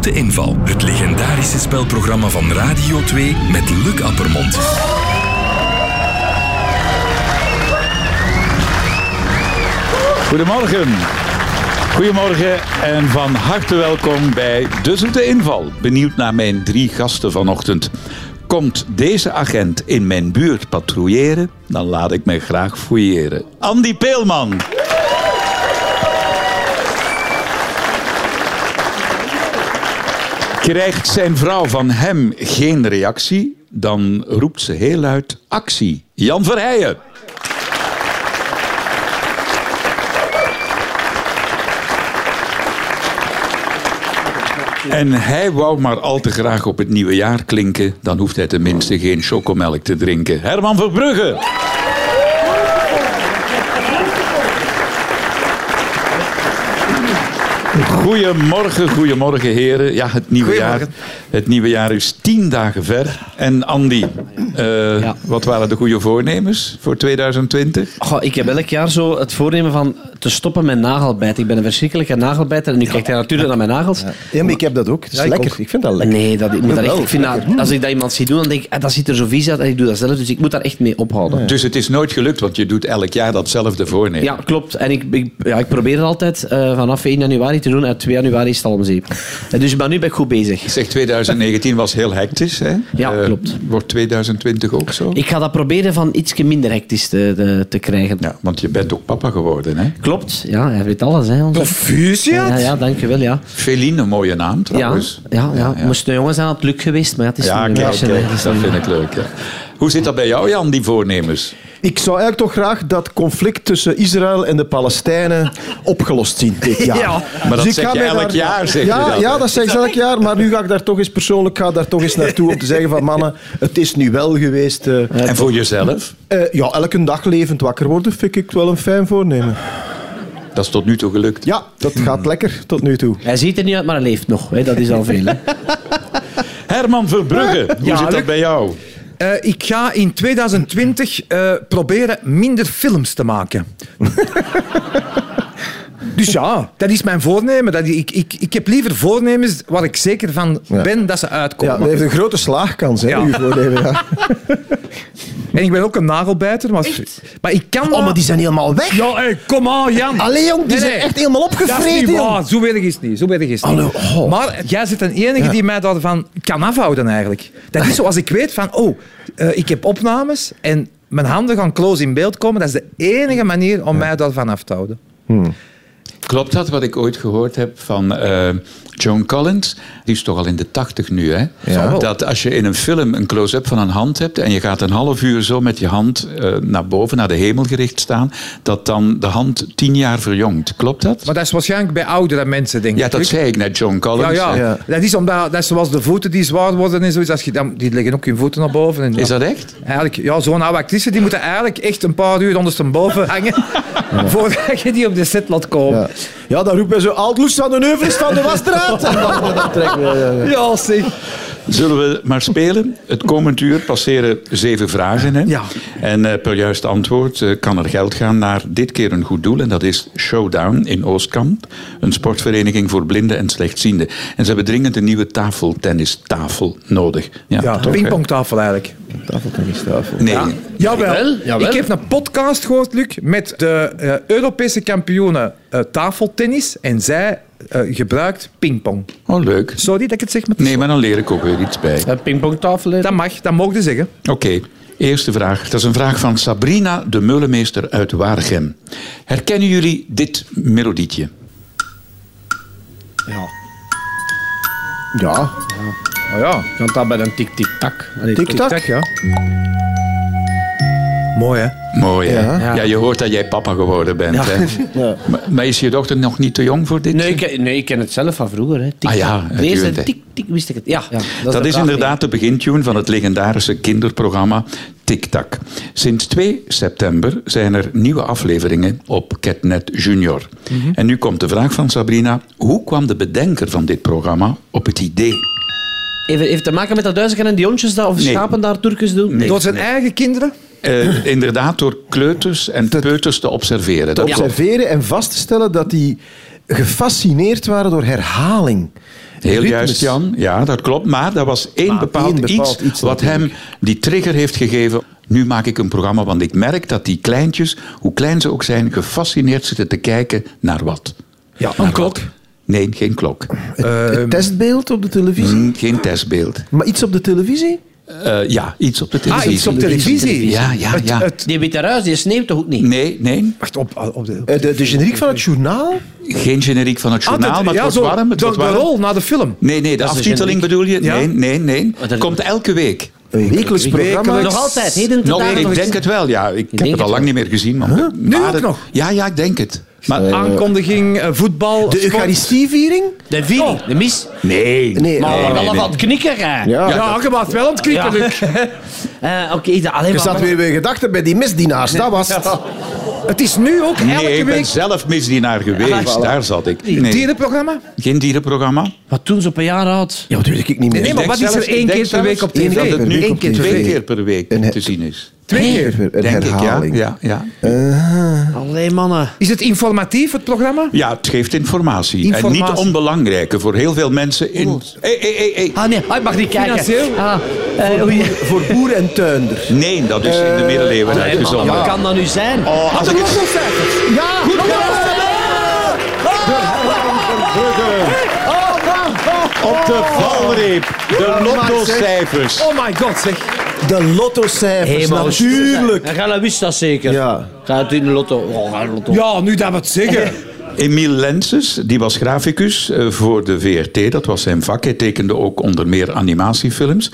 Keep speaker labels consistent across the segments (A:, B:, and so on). A: de inval. Het legendarische spelprogramma van Radio 2 met Luc Appermond.
B: Goedemorgen. Goedemorgen en van harte welkom bij De Zoete Inval. Benieuwd naar mijn drie gasten vanochtend. Komt deze agent in mijn buurt patrouilleren, dan laat ik mij graag fouilleren. Andy Peelman. Krijgt zijn vrouw van hem geen reactie, dan roept ze heel luid actie. Jan Verheijen. En hij wou maar al te graag op het nieuwe jaar klinken. Dan hoeft hij tenminste geen chocomelk te drinken. Herman Verbrugge. Goedemorgen, goedemorgen heren. Ja, het nieuwe, jaar, het nieuwe jaar is tien dagen ver. En Andy, eh, wat waren de goede voornemens voor 2020?
C: Goh, ik heb elk jaar zo het voornemen van te stoppen met nagelbijten. Ik ben een verschrikkelijke nagelbijter en nu kijkt hij natuurlijk naar mijn nagels.
D: Ja, maar ik heb dat ook. Het is
C: Ja, ik
D: lekker.
C: ook.
D: Ik vind dat lekker.
C: Nee, dat, ik moet dat echt,
D: Wel,
C: ik vind dat, als ik dat iemand zie doen, dan denk ik, ah, dat ziet er zo vies uit en ik doe dat zelf. Dus ik moet daar echt mee ophouden.
B: Dus het is nooit gelukt, want je doet elk jaar datzelfde voornemen.
C: Ja, klopt. En ik, ik- ja, ik probeer het altijd eh, vanaf 1 januari te doen. En 2 januari is het al om zeep. En Dus maar nu ben ik goed bezig.
B: Zeg, 2019 was heel hectisch, hè?
C: Ja,
B: Eh,
C: klopt.
B: Wordt 2020 ook zo?
C: Ik ga dat proberen van iets minder hectisch te, te, te krijgen.
B: Ja, want je bent ook papa geworden, hè?
C: Klopt, ja, hij weet alles. Hè, onze... Ja, ja, dankjewel, ja.
B: Feline, een mooie naam
C: Ja,
B: trouwens.
C: ja, ja. moest een jongen zijn, had het lukt geweest, maar ja, het is
B: Ja,
C: nu een
B: kijk,
C: meisje,
B: kijk,
C: hè. Het is
B: dat
C: nu-
B: vind ik leuk. Ja. Hoe zit dat bij jou, Jan, die voornemens?
D: Ik zou eigenlijk toch graag dat conflict tussen Israël en de Palestijnen opgelost zien dit jaar. Dus
C: Ja.
B: Maar dat
D: ik
B: zeg
D: ga
B: je
D: mij
B: elk jaar, zeg je
D: ja,
B: dat, hè?
D: Ja, dat zeg ik elk jaar. Maar nu ga ik daar toch eens persoonlijk ga daar toch eens naartoe om te zeggen van mannen, het is nu wel geweest. eh,
B: En voor jezelf?
D: eh, ja, elke dag levend wakker worden vind ik wel een fijn voornemen.
B: Dat is tot nu toe gelukt.
D: Ja, dat gaat lekker tot nu toe.
C: Hij ziet er niet uit, maar hij leeft nog. Hè. Dat is al veel. Hè.
B: Herman Verbrugge, hoe
E: Ja,
B: zit dat
E: Luc.
B: bij jou?
E: Eh, ik ga in 2020 eh, proberen minder films te maken. dus ja, dat is mijn voornemen. Dat ik, ik, ik heb liever voornemens waar ik zeker van ben dat ze
D: Ja,
E: uitkomen.
D: dat heeft een grote slaagkans, hè,
E: Ja.
D: uw voornemen. Ja.
E: En ik ben ook een nagelbijter. Maar, maar ik kan dat-
D: Oh, zijn helemaal weg.
E: Ja, hey, kom aan, Jan.
D: Allee, jong, die zijn echt helemaal
E: Dat is
D: opgevreten,
E: niet
D: jong.
E: waar. Zo weet ik het niet. Zo weet ik het niet.
D: Allee, oh.
E: Maar jij zit de enige die mij daarvan kan afhouden eigenlijk. Dat is zoals ik weet van, oh, eh, ik heb opnames en mijn handen gaan close in beeld komen. Dat is de enige manier om mij daarvan af te houden.
B: Klopt dat wat ik ooit gehoord heb van eh, Joan Collins? Die is toch al in de tachtig nu, hè?
E: Zal wel.
B: Dat als je in een film een close-up van een hand hebt en je gaat een half uur zo met je hand eh, naar boven, naar de hemel gericht staan, dat dan de hand tien jaar verjongt. Klopt dat?
E: Maar dat is waarschijnlijk bij oudere mensen, denk ik.
B: Ja, dat zei ik net, Joan
E: ja,
B: Collins.
E: ja.
D: Ja.
E: Dat is omdat, dat is zoals de voeten die zwaar worden en zoiets. Als je, dan, die leggen ook hun voeten naar boven. En,
B: Is dat echt?
E: Eigenlijk, ja, zo'n oude actrice, die moeten eigenlijk echt een paar uur ondersteboven hangen voordat je die op de set laat komen.
D: Ja. ja, dan roepen wij zo, Altloes van de Neuvel is van de Wasstraat. En dan, dan trekken we... ja, ja.
E: ja zeg.
B: Zullen we maar spelen? Het komend uur passeren zeven vragen. Hè?
E: Ja.
B: En eh, per juist antwoord eh, kan er geld gaan naar dit keer een goed doel. En dat is Showdown in Oostkamp. Een sportvereniging voor blinden en slechtzienden. En ze hebben dringend een nieuwe tafeltennistafel nodig. Ja,
E: Ja,
B: toch, hè?
E: pingpongtafel eigenlijk.
B: Nee.
E: Jawel.
C: jawel.
E: Ik heb een podcast gehoord, Luc, met de eh, Europese kampioenen eh, tafeltennis. En zij eh, gebruikt pingpong.
B: Oh, leuk.
E: Sorry dat ik het zeg, maar het is-
B: Nee, maar dan leer ik ook weer iets bij.
C: Een pingpongtafel. hè.
E: dat mag, dat mogen ze zeggen.
B: Oké, eerste vraag. Dat is een vraag van Sabrina de Meulemeester uit Waregem. Herkennen jullie dit melodietje?
D: Ja,
E: Oh ja,
C: Want dat bij een tik-tik-tak. Allee,
D: tik-tak.
E: ja. Mooi, hè?
B: Mooi, hè? Ja.
D: Ja.
B: je hoort dat jij papa geworden bent, hè? Maar, maar is je dochter nog niet te jong voor dit?
C: Nee ik, nee, ik ken het zelf van vroeger. Hè. Tik-tak.
B: Ah ja,
C: de eerste
B: natuurlijk, hè.
C: tik-tik wist ik het. Ja, ja,
B: dat
C: de
B: is
C: vraag,
B: inderdaad de begintune van het legendarische kinderprogramma Tic Tac. Sinds 2 september zijn er nieuwe afleveringen op Catnet Junior. En nu komt de vraag van Sabrina. Hoe kwam de bedenker van dit programma op het idee?
C: hè. Even, even te maken met dat duizenden en die hondjes daar, of
B: Nee.
C: schapen daar Turkens doen? Nee.
E: Door zijn eigen kinderen?
B: Eh, inderdaad, door kleuters en peuters te observeren.
D: te
B: Dat-
D: observeren en vast te stellen dat die gefascineerd waren door herhaling.
B: Heel
D: Ritmes.
B: juist, Jan. Ja, dat klopt. Maar dat was één bepaald,
D: één bepaald
B: iets,
D: iets
B: wat hem die trigger heeft gegeven. Nu maak ik een programma, want ik merk dat die kleintjes, hoe klein ze ook zijn, gefascineerd zitten te kijken naar wat.
E: Ja,
B: Oh,
D: nou,
E: een klok.
B: Nee, geen klok.
D: Het testbeeld op de televisie?
B: Mm, Geen testbeeld.
D: Maar iets op de televisie?
B: Eh, ja, iets op de
E: Ah,
B: televisie.
E: iets op televisie.
B: Ja, ja,
E: Het-
B: ja.
E: het-
C: Die witte ruis, die sneeuwt toch ook niet?
B: Nee, nee,
E: wacht, op, op de...
D: Eh, De, de generiek van het journaal?
B: geen generiek van het journaal,
E: Ah, dat-
B: maar het
E: ja,
B: wordt
E: zo,
B: warm. Het
E: de,
B: wordt
E: de
B: warm.
E: rol naar de film.
B: Nee, nee, de
C: is de
B: aftiteling
C: generiek.
B: bedoel je?
E: Ja. Oh,
B: Nee, nee, nee.
C: Maar dat-
B: Komt elke week.
D: Een wekelijks programma?
E: Wekelijks.
C: Nog altijd, heden ten
B: Nog,
C: dagen
B: Nou, ik
C: nog
B: denk
C: iets.
B: het wel, ja. Ik heb
C: denk
B: het al
C: het
B: lang niet meer gezien. Maar,
E: Nu
B: maar
E: ook
B: het-
E: nog? Eh,
B: Ja, ja, ik denk het. Maar,
E: Aankondiging, eh, voetbal,
D: De
E: sport.
D: Eucharistieviering?
C: De viering, de mis.
B: nee.
D: Nee,
C: Maar
D: nee,
C: we
B: nee,
C: gaan
B: nee.
C: van het knikken, hè.
D: Ja.
E: Ja, je maakt wel aan het knikken,
C: Ja.
E: Luc.
C: Eh, Oké, dat- alleen
D: Je
C: maar...
D: zat weer bij gedachten bij die misdienaars, dat was het.
E: Het is nu ook elke
B: Nee, ik ben
E: week...
B: zelf misdienaar geweest. Daar zat ik. Nee.
E: Dierenprogramma?
B: Geen dierenprogramma.
C: Wat toen ze op een jaar oud?
D: Ja, dat weet ik niet meer.
E: Nee, maar
B: Ik
E: wat
B: denk
E: is er
B: zelfs-
E: één
B: ik
E: keer
B: denk
E: per week
B: zelfs
E: op tv?
D: één keer per
B: Dat
D: week
B: het
D: op
B: nu
D: tv.
B: twee keer per week
D: Een-
B: te zien is.
E: Twee keer.
D: Een
B: Denk ik, ja.
D: herhaling.
B: Ja, ja.
C: Allee, mannen.
E: Is het informatief, het programma?
B: ja, het geeft informatie.
E: Informatie.
B: En niet onbelangrijke voor heel veel mensen. In... Hey, hey, hey, hey.
C: Ah, nee, ah, ik mag niet kijken.
E: Financieel?
C: Ah, eh, oei.
D: Voor boer en tuinder.
B: Nee, dat is
E: Eh,
B: in de middeleeuwen
C: Allee, mannen,
B: uitgezonden.
C: wat kan dat nu zijn?
B: Oh, als ik het-
D: Ja, goed oh,
B: Op de valreep, de lottocijfers.
E: Oh my god, zeg.
D: De lottocijfers,
C: Helemaal
D: natuurlijk.
C: En Gala wist dat zeker.
D: Ja.
C: Gaat het in de lotto? Oh, ga in de lotto.
E: Ja, nu dat we het zeggen.
B: Emiel Lenses, die was graficus eh, voor de VRT, dat was zijn vak. Hij tekende ook onder meer animatiefilms.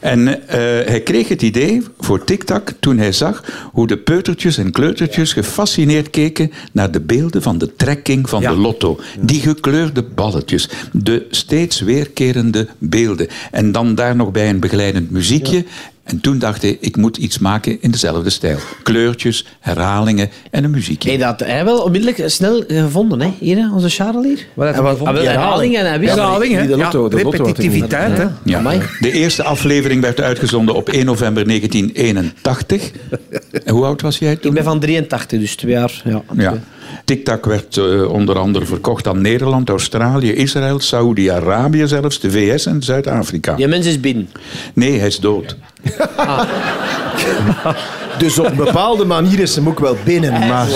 B: En eh, hij kreeg het idee voor TikTok toen hij zag hoe de peutertjes en kleutertjes gefascineerd keken naar de beelden van de trekking van
E: Ja.
B: de lotto. Die gekleurde balletjes, de steeds weerkerende beelden. En dan daar nog bij een begeleidend muziekje. En toen dacht hij, ik moet iets maken in dezelfde stijl. Kleurtjes, herhalingen en een muziekje.
C: Hey, dat hij wel onmiddellijk snel eh, gevonden, hè? Hier, hè, onze Charles hier.
E: Wat heeft hij
C: Ah,
E: gevonden?
C: wel, herhalingen en hij wist dat.
E: Herhaling, hè?
D: die de
E: Ja,
D: lotto- de lotto had hij
E: repetitiviteit, hè?
B: Ja.
C: Amai.
B: De eerste aflevering werd uitgezonden op 1 november 1981. En hoe oud was jij
C: Ik
B: toen?
C: ben van 83, dus twee jaar. Ja.
B: Ja. TikTok werd eh, onder andere verkocht aan Nederland, Australië, Israël, Saoedi-Arabië zelfs, de VS en Zuid-Afrika.
C: Die mens is binnen.
B: Nee, hij is dood.
D: Dus op een bepaalde manier is hem ook wel binnen. Maar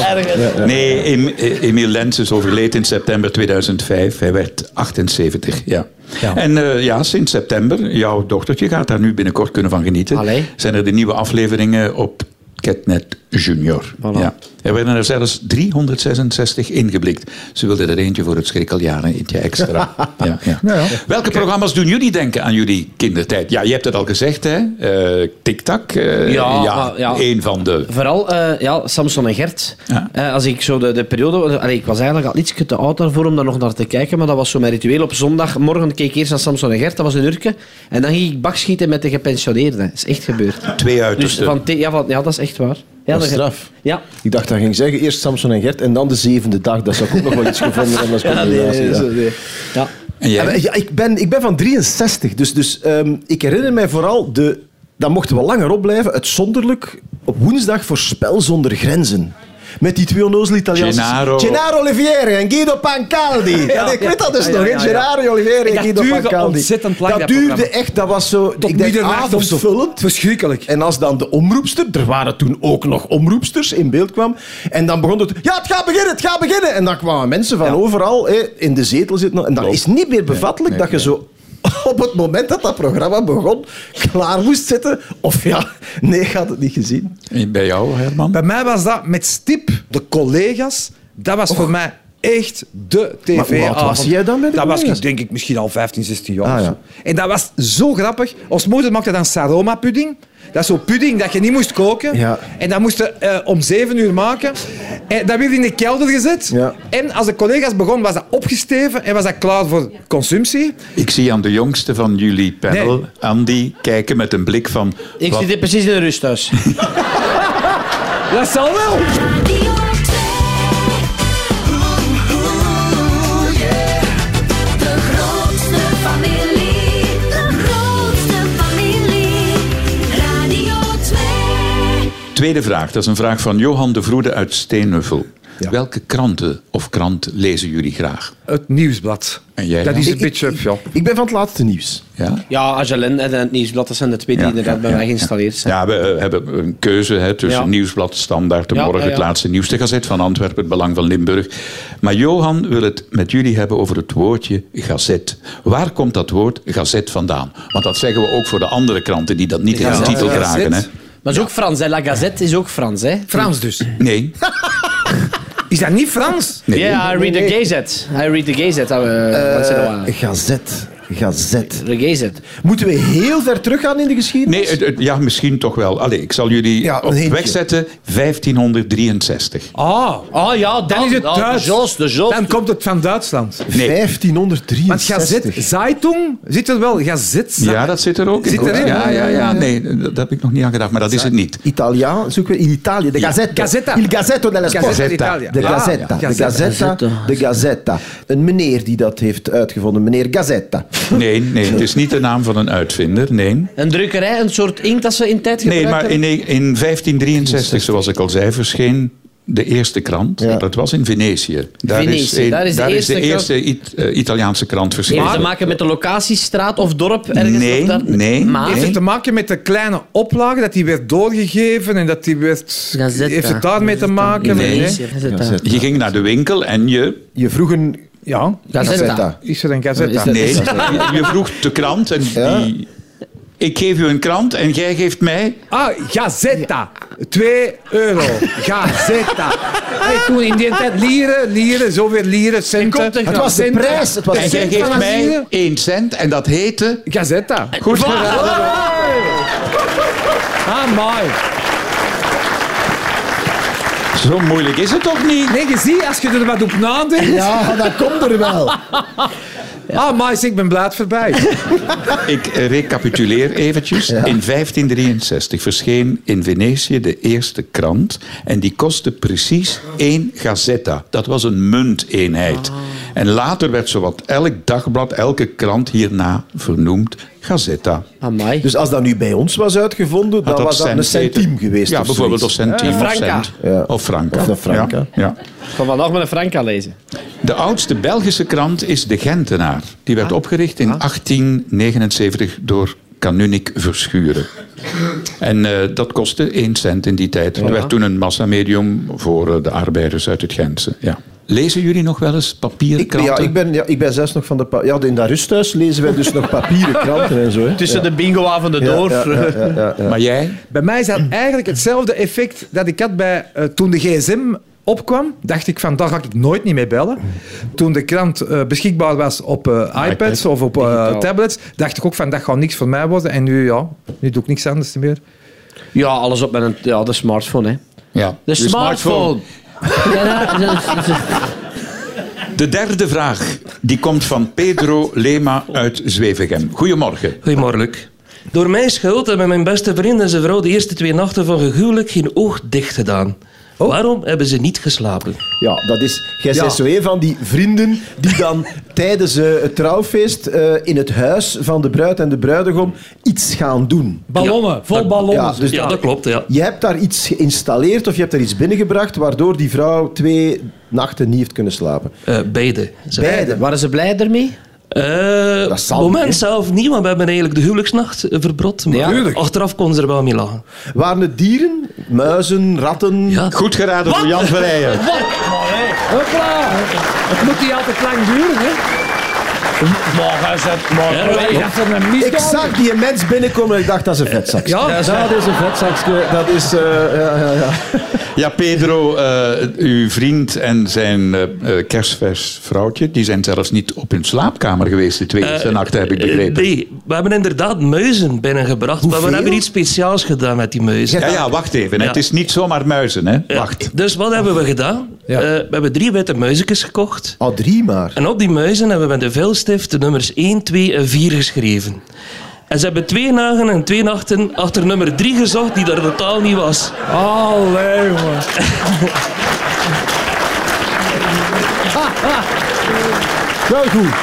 B: Nee, Em- eh, Emiel Lens is overleden in september 2005. Hij werd 78, ja. En eh, ja, sinds september, jouw dochtertje gaat daar nu binnenkort kunnen van genieten.
C: Allee.
B: Zijn er de nieuwe afleveringen op Catnet Junior. Ja. Er werden er zelfs 366 ingeblikt. Ze wilden er eentje voor het schrikkeljaar, een eentje extra. ja, ja. Welke programma's doen jullie denken aan jullie kindertijd? Ja, je hebt het al gezegd, hè? Eh Tik-tak. eh,
C: Ja,
B: ja,
C: maar- ja.
B: een van de...
C: Vooral eh, ja, Samson en Gert.
B: Ja.
C: Eh, als ik zo de, de periode. eh, allee, ik was eigenlijk al iets te oud daarvoor om daar nog naar te kijken. Maar dat was zo mijn ritueel. Op zondagmorgen keek ik eerst naar Samson en Gert. Dat was een urke. En dan ging ik bak schieten met de gepensioneerden. Dat is echt gebeurd.
B: Twee
C: Dus
B: uitersten.
C: van, te- ja, van, ja, dat is echt waar. Ja,
D: Dat is
C: dat-
D: straf.
C: Ja,
D: ik dacht, dat ging zeggen, eerst Samson en Gert en dan de zevende dag. Dat zou ik ook nog wel iets gevonden hebben als combinatie. ja.
C: ja.
B: En jij?
D: Ja, maar- ja, ik, ben, ik ben van 63, dus, dus ehm, ik herinner mij vooral de... Dan mochten we langer opblijven, uitzonderlijk, op woensdag voor Spel zonder grenzen. Met die twee onnozele Italiaanse...
B: Gennaro.
D: Gennaro Olivieri en Guido Pancaldi. Ja, ik weet dat dus
C: ja,
D: nog, hè.
C: ja, ja.
D: Gennaro Olivieri en
E: Dat
D: Guido
E: duurde
D: Pancaldi.
E: ontzettend lang,
D: Dat,
E: dat
D: duurde
E: programma.
D: echt, dat was zo...
E: Tot
D: ik denk
E: middernacht of zo.
D: avondvullend.
E: Verschrikkelijk.
D: En als dan de omroepster, er waren toen ook nog omroepsters, in beeld kwam. En dan begon het, ja, het gaat beginnen, het gaat beginnen. En dan kwamen mensen van overal hè, in de zetel zitten. En dat is niet meer bevattelijk dat je zo op het moment dat dat programma begon, klaar moest zitten. Of ja, nee, ik had het niet gezien.
B: En Bij jou, Herman?
E: Bij mij was dat met stip, de collega's, dat was voor mij echt de tv
D: Oh. Maar hoe oud was jij dan bij de
E: Dat was
D: collega's?
E: ik, denk ik misschien al 15, 16 jaar.
D: Ah,
E: of zo.
D: ja.
E: En dat was zo grappig. Ons moeder maakte dan saroma-pudding. Dat is zo'n pudding dat je niet moest koken.
D: Ja.
E: En dat moesten eh, om 7 uur maken. En dat werd in de kelder gezet.
D: Ja.
E: En als de collega's begonnen, was dat opgesteven en was dat klaar voor consumptie.
B: Ik zie aan de jongste van jullie panel,
E: Nee.
B: Andy, kijken met een blik van...
C: Ik
B: wat-
C: zit hier precies in de rusthuis.
E: Dat zal wel.
F: Radio 2. De grootste familie, de grootste familie. Radio 2.
B: Tweede vraag, dat is een vraag van Johan de Vroede uit Steenuffel.
E: Ja.
B: Welke kranten of krant lezen jullie graag?
E: Het nieuwsblad.
B: En jij,
E: dat
B: Jan?
E: is een
D: Ik- ik-
E: beetje... Ja.
D: Ik ben van het laatste nieuws.
B: Ja?
C: Ja, Agelen en het Nieuwsblad, dat zijn de twee die
B: Ja,
C: inderdaad
B: ja,
C: bij
B: ja,
C: mij geïnstalleerd zijn.
B: Ja, we eh, hebben een keuze hè, tussen
C: Ja.
B: Nieuwsblad, Standaard, De
C: Ja,
B: Morgen,
C: ja, ja.
B: Het Laatste Nieuws, De Gazet van Antwerpen, Het Belang van Limburg. Maar Johan wil het met jullie hebben over het woordje gazet. Waar komt dat woord gazet vandaan? Want dat zeggen we ook voor de andere kranten die dat niet in de
C: Gazet,
B: titel
E: ja.
B: dragen. Hè?
E: Gazet.
C: Maar het is ook Frans, hè. La Gazette is ook Frans, hè.
E: Frans dus.
B: Nee,
E: Is dat niet Frans?
B: nee.
C: Ja, I read the Gazette. I read the Gazette. dat we- wat zeggen we aan?
D: Gazet. Gazet.
C: De Gazette.
D: Moeten we heel ver teruggaan in de geschiedenis?
B: Nee, het- het- ja, misschien toch wel. Allee, ik zal jullie
D: Ja, een
B: op
D: hintje.
B: wegzetten. 1563.
E: Ah,
C: Oh ja, dan,
E: Dan is het
C: oh,
E: Duits.
C: De Jos, de Jos.
E: dan komt het van Duitsland.
B: nee.
D: 1563.
E: Want Gazet, Zeitung, zit er wel Gazet?
B: Ja, dat zit er ook in.
E: Zit erin?
B: Ja, ja, ja. Nee, dat heb ik nog niet aan gedacht, maar dat is het niet.
D: Italiaan zoeken we in Italië. De Gazzetta.
E: Gazzetta.
D: Il Gazzetto della Sport.
E: Gazet
B: Gazzetta.
E: Italia.
D: De
E: Ah,
D: Gazzetta. De Gazzetta. De Gazzetta. Een meneer die dat heeft uitgevonden. Meneer Gazzetta.
B: Nee, nee, het is niet de naam van een uitvinder. Nee.
C: Een drukkerij, een soort inkt dat ze in tijd
B: Nee,
C: gebruikt
B: maar in, in 1563, zoals ik al zei, verscheen de eerste krant.
D: Ja.
B: Dat was in Venetië. Daar is,
C: Venetië,
B: een-
C: daar is de eerste krant.
B: It- eh, Italiaanse krant verschenen.
C: Heeft het te maken met de locatie, straat of dorp? Ergens
B: Nee,
C: of daar?
B: nee,
C: Maar
E: Heeft het te maken met de kleine oplage, dat die werd doorgegeven en dat die werd...
C: Gazetta.
E: Heeft het daarmee te maken?
B: Nee.
C: Gazette.
B: Je ging naar de winkel en je...
D: Je vroeg een
E: Ja,
C: Gazette.
E: is er een Gazetta?
C: Is dat-
B: Nee, je vroeg de krant en die... Ik geef u een krant en jij geeft mij...
E: Ah, Gazetta. 2 euro. Gazetta. Hey, toen in die tijd lieren, lieren, zoveel lieren, centen.
C: komt een
D: Het was de
E: Centen.
D: prijs. Het was
B: En
D: de
B: jij
E: cent
B: geeft
E: van
B: mij
E: Azië.
B: 1 cent en dat heette...
E: Gazetta.
B: Goed gedaan.
E: Ah, mooi.
B: Zo moeilijk is het toch niet?
E: Nee, je ziet, als je er wat op nadenkt...
D: Ja, dat komt er wel.
E: Ah, maar ik ben blij voorbij.
B: Ik eh, recapituleer eventjes. In 1563 verscheen in Venetië de eerste krant. En die kostte precies één gazetta. Dat was een munteenheid. En later werd zowat elk dagblad, elke krant hierna vernoemd gazetta.
C: eh, Amai.
D: Dus als dat nu bij ons was uitgevonden, dan
B: Had
D: was dat een
B: cent
D: centiem
B: heten.
D: geweest.
B: Ja,
D: of
B: bijvoorbeeld of
D: zoiets. Eh,
B: centiem
C: Ja,
B: of
C: franca.
B: cent.
D: Ja.
B: Of frank.
D: Of een franca.
B: Ja, ja.
C: Ik kan vandaag met een Franca lezen.
B: De oudste Belgische krant is De Gentenaar. Die
D: Ah.
B: werd opgericht in 1879 door Canunik Verschuren. En eh, dat kostte 1 cent in die tijd. Dat werd toen een massamedium voor eh, de arbeiders uit het Gentse. Ja. Lezen jullie nog wel eens papieren
D: Ik, ben- ja,
B: kranten?
D: ik, ben, ja, ik ben zelfs nog van de... pa- Ja, in dat rusthuis lezen wij dus nog papieren kranten en zo. Hè.
C: Tussen de bingo-avonden
D: Ja,
C: door.
D: ja, ja, ja, ja, ja.
B: Maar jij?
E: Bij mij is dat eigenlijk hetzelfde effect dat ik had bij eh, toen de gsm opkwam. Dacht ik van, daar ga ik nooit niet mee bellen. Toen de krant eh, beschikbaar was op eh, iPads of op eh, tablets, dacht ik ook van, dat gaat niks voor mij worden. En nu, ja, nu doe ik niks anders meer.
C: Ja, alles op met een ja, de smartphone, hè.
B: Ja.
C: De
B: je
C: smartphone.
B: De derde vraag die komt van Pedro Lema uit Zwevegem. Goedemorgen.
G: Goedemorgen. Door mijn schuld hebben mijn beste vriend en zijn vrouw de eerste twee nachten van hun huwelijk geen oog dicht gedaan. Waarom hebben ze niet geslapen?
D: Ja, dat is... Jij bent zo een van die vrienden die dan tijdens eh, het trouwfeest eh, in het huis van de bruid en de bruidegom iets gaan doen.
E: Ballonnen, vol ballonnen.
D: Ja, dus
G: Ja, dat klopt, ja.
D: je hebt daar iets geïnstalleerd of je hebt daar iets binnengebracht waardoor die vrouw twee nachten niet heeft kunnen slapen.
G: Eh, beide. Ze-
D: Beide.
C: Waren ze blij ermee?
G: Eh,
D: Dat zal
G: moment
D: niet, hè?
G: zelf niet, want we hebben eigenlijk de huwelijksnacht eh, verbrot. Maar
E: Tuurlijk.
G: achteraf konden ze er wel mee lachen.
D: Waren het dieren? Muizen, ratten?
G: Ja.
B: Goed geraden door Jan Verheijen.
E: Hopla! Het moet niet altijd lang duren, hè?
C: Morgen is het morgen.
G: Ja,
E: Ik had er een
D: Ik
E: misdaad.
D: zag die mens binnenkomen en ik dacht, dat is een vetzak.
E: Ja,
D: dat is een vetzakje. Dat is... eh, ja, ja, ja.
B: Ja, Pedro, eh, uw vriend en zijn eh eh, kerstvers vrouwtje, die zijn zelfs niet op hun slaapkamer geweest de twee eerste nachten, heb ik
G: Eh,
B: begrepen.
G: nee, we hebben inderdaad muizen binnengebracht, maar
D: Hoeveel?
G: we hebben iets speciaals gedaan met die muizen.
B: Ja, ja, wacht even. hè.
G: Ja.
B: Het is niet zomaar muizen, hè?
G: Eh,
B: Wacht.
G: Dus wat hebben we gedaan?
E: Ja.
G: Eh, we hebben drie witte muizenjes gekocht.
D: Ah, drie maar.
G: En op die muizen hebben we met de vuilstift de nummers 1, 2 en 4 geschreven. En ze hebben twee dagen en twee nachten achter nummer 3 gezocht, die er totaal niet was.
E: Allee, jongen.
D: Wel goed.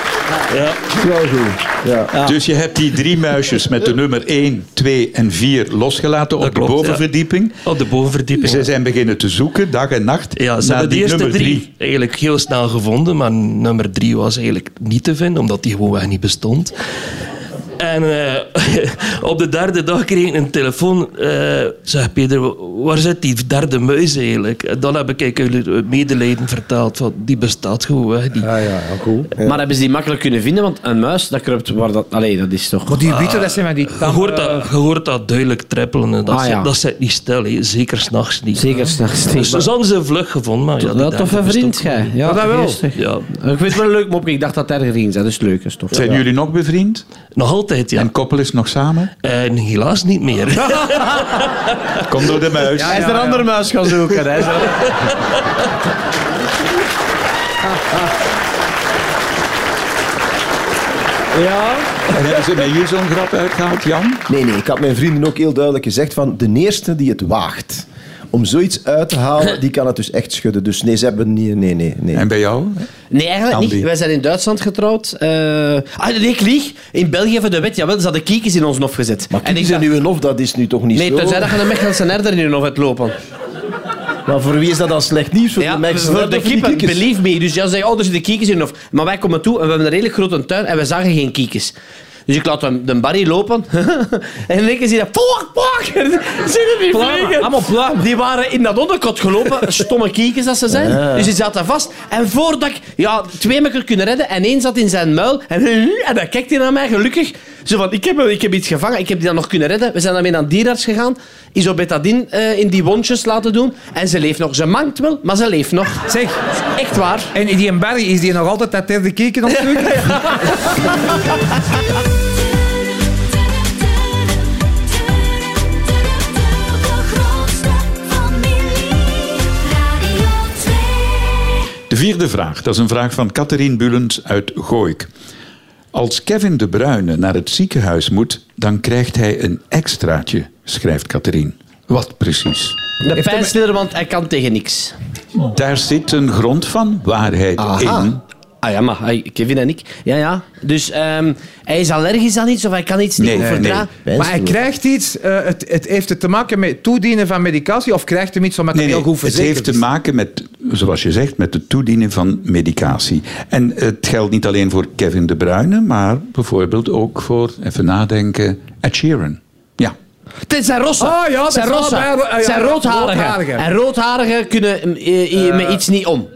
D: Wel goed. Ja.
B: Dus je hebt die drie muisjes met de nummer 1, 2 en 4 losgelaten op
G: Dat klopt,
B: de
G: ja.
B: bovenverdieping.
G: Op de bovenverdieping.
B: Ze zijn beginnen te zoeken, dag en nacht.
G: Ja, ze
B: naar
G: hebben de
B: die
G: eerste
B: nummer
G: drie,
B: drie.
G: eigenlijk heel snel gevonden, maar nummer drie was eigenlijk niet te vinden, omdat die gewoonweg niet bestond. En eh, op de derde dag kreeg ik een telefoon. eh, zeg Peter, waar zit die derde muis eigenlijk? En dan heb ik eigenlijk het medelijden vertaald van die bestaat gewoonweg niet.
D: Ah,
E: Ja, ja, ja, cool.
C: Maar hebben ze die makkelijk kunnen vinden? Want een muis, dat kruipt waar dat... Allee, dat is toch...
E: Maar
B: Ah.
E: die witte, dat zijn maar die...
G: Je hoort dat, je hoort dat duidelijk trippelen. en Dat,
C: eh, Ah,
G: zit-
C: ja.
G: dat zit niet stil, hè. zeker s'nachts niet.
C: Zeker s'nachts.
G: Dus ze hadden ze vlug gevonden. Maar ja, die
C: Ja,
G: derde
C: toffe
G: bestond
C: vriend, jij. Ja,
E: Maar dat wel.
C: geestig.
G: niet. Ja,
C: Ik vind het wel een leuk mopje. Ik dacht dat het erger ging zijn. Dus leuk is tof.
B: Zijn jullie nog bevriend?
G: nog altijd, ja.
B: En koppel is nog samen?
G: En helaas niet meer.
B: Kom door de muis.
C: Hij is
E: Ja,
C: een
E: ja.
C: andere muis gaan zoeken. Hij is er-
B: En hebben ze met jullie zo'n grap uitgehaald, Jan?
D: Nee, nee, ik had mijn vrienden ook heel duidelijk gezegd van de eerste die het waagt om zoiets uit te halen, die kan het dus echt schudden. Dus nee, ze hebben niet... Nee, nee, nee.
B: En bij jou?
C: Nee, eigenlijk
B: Andy.
C: niet. Wij zijn in Duitsland getrouwd. Eh, ah, nee, ik lieg. In België voor de wet. Jawel, ze hadden kiekjes in ons hof gezet.
D: Maar
C: ik
D: kiezen
C: dacht-
D: nu een of, dat is nu toch niet
C: Nee,
D: zo?
C: tenzij dat je een Mechelse herder in je hof hebt lopen.
D: Maar voor wie is dat dan slecht nieuws? Voor
C: Ja,
D: de mensen
C: voor
D: net
C: de
D: of die
C: kippen,
D: kikkers?
C: believe me. Dus ja, ze zeiden, oh, er zitten kiekjes in je hof. Maar wij komen toe en we hebben een redelijk grote tuin en we zagen geen kiekjes. Dus ik laat hem de barry lopen. en in één keer zie je dat... Fuck, fuck! Zie je die vliegen?
E: allemaal pluim.
C: Die waren in dat onderkot gelopen, stomme kiekers dat ze zijn. Dus die zaten vast. En voordat ik ja, twee mekker kunnen redden, en één zat in zijn muil. En, en dan kijkt hij naar mij, gelukkig. Zo van, ik heb, ik heb iets gevangen, ik heb die dan nog kunnen redden. We zijn daarmee naar een dierarts gegaan. Isobetadine eh, in die wondjes laten doen. En ze leeft nog. Ze mankt wel, maar ze leeft nog.
E: Zeg,
C: Echt waar.
E: en die in Barry, is die nog altijd dat derde keken op zoek?
F: De grootste familie, Radio 2.
B: De vierde vraag, dat is een vraag van Catherine Bulens uit Gooik. Als Kevin de Bruyne naar het ziekenhuis moet, dan krijgt hij een extraatje, schrijft Catherine. Wat precies?
C: De pijnstiller, want hij kan tegen niks.
B: Daar zit een grond van waarheid in.
C: Ah ja, maar hij- Kevin en ik. Ja, ja. Dus ehm, hij is allergisch aan iets of hij kan iets
B: Nee,
C: niet
B: nee,
C: overdragen.
E: Maar hij krijgt iets, eh, het, het heeft het te maken met toedienen van medicatie of krijgt hem iets omdat
B: Nee,
E: hij
B: nee,
E: heel goed
B: het
E: verzekerd
B: heeft te
E: is?
B: maken met, zoals je zegt, met het toedienen van medicatie. En het geldt niet alleen voor Kevin de Bruyne, maar bijvoorbeeld ook voor, even nadenken, Ed Sheeran. Ja,
C: Het is zijn rossen.
E: Ah, ja, dat
C: zijn
E: is
C: rossen.
E: allebei ro- ja,
C: zijn roodharigen.
E: roodharigen.
C: En roodharigen kunnen eh, eh, met iets niet om.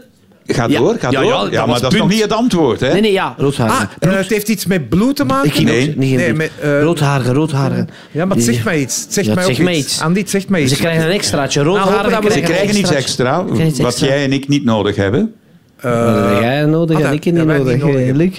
B: Ga
C: Ja.
B: door, ga
C: Ja,
B: door.
C: ja,
B: Ja,
C: dat
B: maar
C: was
B: dat is nog
C: punt.
B: niet het antwoord, hè?
C: Nee, nee, ja, roodharigen.
E: Ah, eh, het heeft iets met bloed te maken?
C: ik ging
B: nee.
C: ook- niet geen
E: Ah, Nee,
C: bloed.
E: met, eh,
C: roodharigen, roodharigen.
E: Ja, maar het zegt mij iets. Het zegt
C: Ja, het
E: mij ook
C: zegt mij
E: iets.
C: iets. Dus
E: Andy, het zegt mij iets. Nou,
C: Ze krijgen een extraatje.
E: hopen dat
C: Roodharigen
E: we-
B: Ze krijgen iets extra,
C: Krijgen iets
B: wat
C: extra.
B: jij en ik niet nodig hebben.
C: Dat
B: eh,
C: heb Eh, jij nodig
E: ah,
C: en
E: dat-
C: ik niet
E: dat wij niet
C: nodig.
E: nodig hebben.
C: Luc.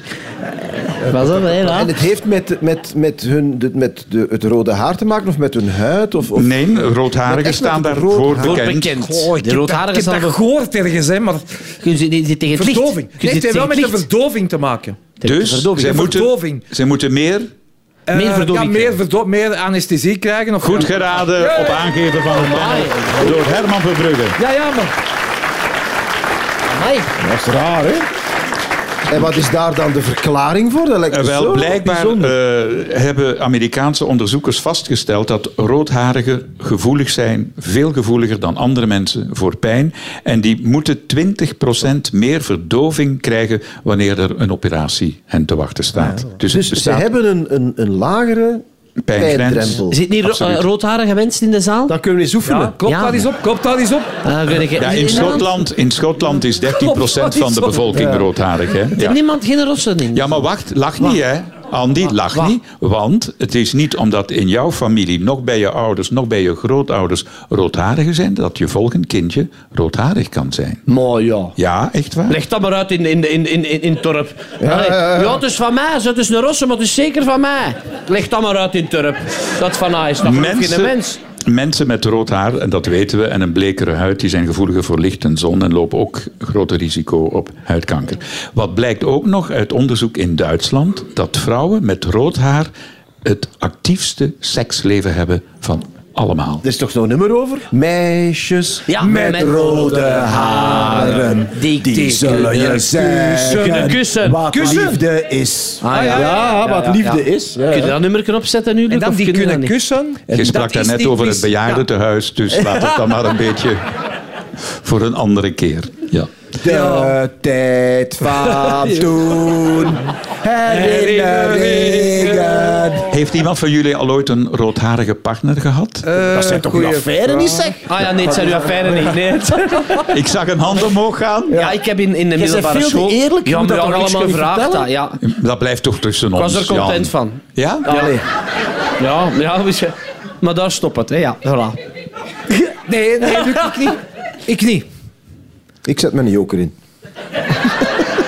C: Pas op, hè.
D: En
C: laat.
D: het heeft met, met, met, hun, de- met de, het rode haar te maken of met hun huid? Of, of...
B: Nee, roodharigen
D: Echt met
B: staan
D: een
B: daarvoor
D: roodhaar-
B: bekend.
E: Goh, ik
C: De
E: heb
C: roodharigen
E: dat-
C: staan
E: Ik heb dat gehoord ergens, hè, maar
C: Kun je die, die tegen het licht?
E: verdoving.
C: Kun
E: Nee,
C: je
E: het heeft
C: tegen
E: wel met
C: het
E: de
C: licht?
E: verdoving te maken.
B: Dus zij
E: De
B: moeten,
E: verdoving.
B: zij moeten meer
E: Eh,
C: Meer verdoving
E: Ja, meer,
C: krijgen.
E: verdo- meer anesthesie krijgen. Of
B: goed geraden op aangeven van een man door Herman Verbrugge.
E: Ja, ja, maar...
C: Amai.
D: Dat is raar, hè? En wat is daar dan de verklaring voor? Dat lijkt me
B: Eh,
D: zo
B: Wel, blijkbaar
D: bijzonder.
B: eh, hebben Amerikaanse onderzoekers vastgesteld dat roodharigen gevoelig zijn, veel gevoeliger dan andere mensen voor pijn. En die moeten 20% meer verdoving krijgen wanneer er een operatie hen te wachten staat. Dus, het
D: Dus ze
B: bestaat
D: hebben een, een, een lagere
B: Pijngrens.
D: pijndrempel.
C: Zit niet ro-
B: Absoluut.
C: eh, roodharige mensen in de zaal?
D: Dan kunnen we eens oefenen.
E: Ja, klopt
C: Ja.
E: dat eens op, klopt dat eens op.
C: Ah, weet ik-
B: Ja, in Schotland, in Schotland is 13% van de bevolking roodharig. Hè?
C: Zit
B: Ja.
C: niemand geen rossen in?
B: ja, maar wacht, lach niet hè. Andy, lach niet. Want het is niet omdat in jouw familie, nog bij je ouders, nog bij je grootouders roodharigen zijn, dat je volgend kindje roodharig kan zijn.
C: Mooi, ja.
B: Ja, echt waar.
C: Leg dat maar uit in, in, in, in, in, in het dorp. Allee. Ja, het is van mij. zo, Het is een rosse, maar het is zeker van mij. Leg dat maar uit in het dorp. Dat is van mij is. Dat is geen mens.
B: mensen met rood haar, en dat weten we, en een blekere huid, die zijn gevoeliger voor licht en zon en lopen ook groter risico op huidkanker. Wat blijkt ook nog uit onderzoek in Duitsland, dat vrouwen met rood haar het actiefste seksleven hebben van Allemaal.
D: Er is toch zo'n nummer over? Meisjes
C: Ja,
D: met,
C: met
D: rode haren,
C: die-
D: die,
C: die
D: zullen je
C: kunnen
D: zeggen
C: kunnen kussen.
D: wat
E: Kussen?
D: liefde is.
C: Ah, ja.
D: wat
C: ja,
D: liefde
C: ja.
D: is. Ja,
C: Kun je
D: ja.
C: dat nummer opzetten nu? Luc,
E: En dan
C: of
E: die
C: kun je dat
E: kunnen
C: niet?
E: kussen.
B: Je sprak
E: daar
B: daarnet over het bejaardentehuis, dus laat het dan maar een beetje voor een andere keer. Ja.
D: De tijd van toen, herinneringen.
B: Heeft iemand van jullie al ooit een roodharige partner gehad?
D: Dat zijn toch een affaire, niet zeg?
C: Ah ja, nee, het zijn uw affaire niet. Nee, het-
B: Ik zag een hand omhoog gaan.
C: Ja, ik heb in, in de
D: bent
C: middelbare
D: veel te
C: school...
D: eerlijk, je
C: ja,
D: moet
C: maar
D: dat
C: ja,
D: toch niks
C: allemaal
D: kunnen
C: gevraagd.
D: vertellen?
C: dat, Ja.
B: Dat blijft toch tussen
C: Ik
B: ons,
C: was er content
B: Jan.
C: van.
B: Ja?
C: Ja, ja, ja weet je. maar daar stopt het. Hè. Ja, voilà.
E: Nee, nee, Luc, ik niet. Ik niet.
D: Ik zet mijn joker in.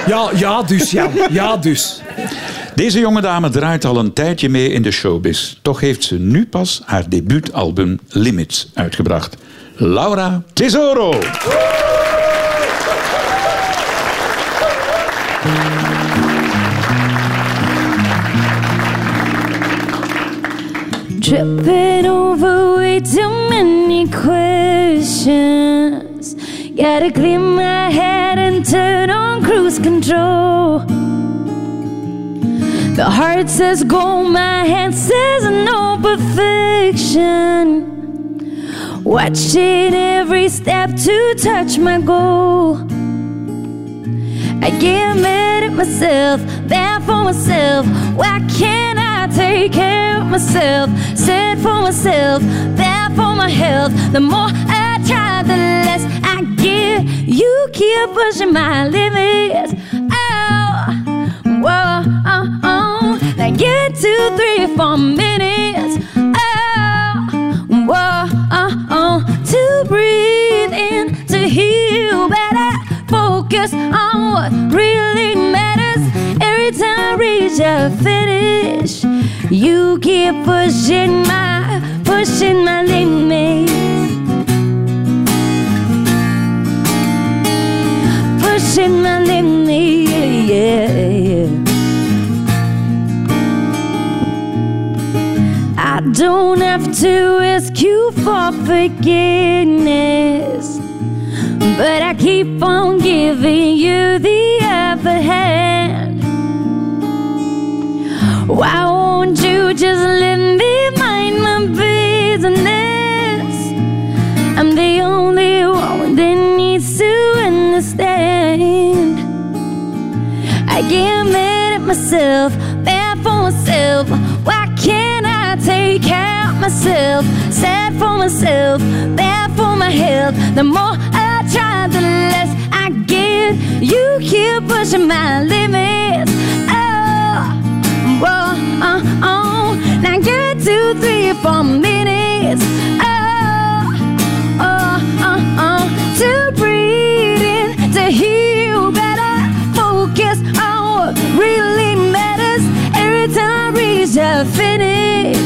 E: Ja, ja dus, ja. Ja dus.
B: Deze jonge dame draait al een tijdje mee in de showbiz. Toch heeft ze nu pas haar debuutalbum Limits uitgebracht. Laura Tesoro.
F: Tripping over way too many questions. Gotta clear my head and turn on cruise control. The heart says go, my hand says no perfection. Watching every step to touch my goal. I get mad at myself, bad for myself. Why can't I take care of myself? Sad for myself, bad for my health. The more I try, the less I give. You keep pushing my limits. Oh, whoa, oh, oh. Like get two, three, four minutes. Oh, whoa, oh, oh. To breathe in, to heal better. Focus on what really matters. Every time I reach a finish, you keep pushing my, pushing my limits. Pushing my limits, yeah, yeah. I don't have to ask you for forgiveness, but I keep on giving you the upper hand. Why won't you just let me mind my business? I'm the only one that needs to understand. I get mad at myself, bad for myself. Why can't I take care of myself? Sad for myself, bad for my health. The more I try, the less I get. You keep pushing my limits. Oh, whoa, oh, oh. Now get two, three, four minutes. Oh, oh, oh, oh. To breathe in, to heal better. Focus on what really matters. Every time I reach a finish,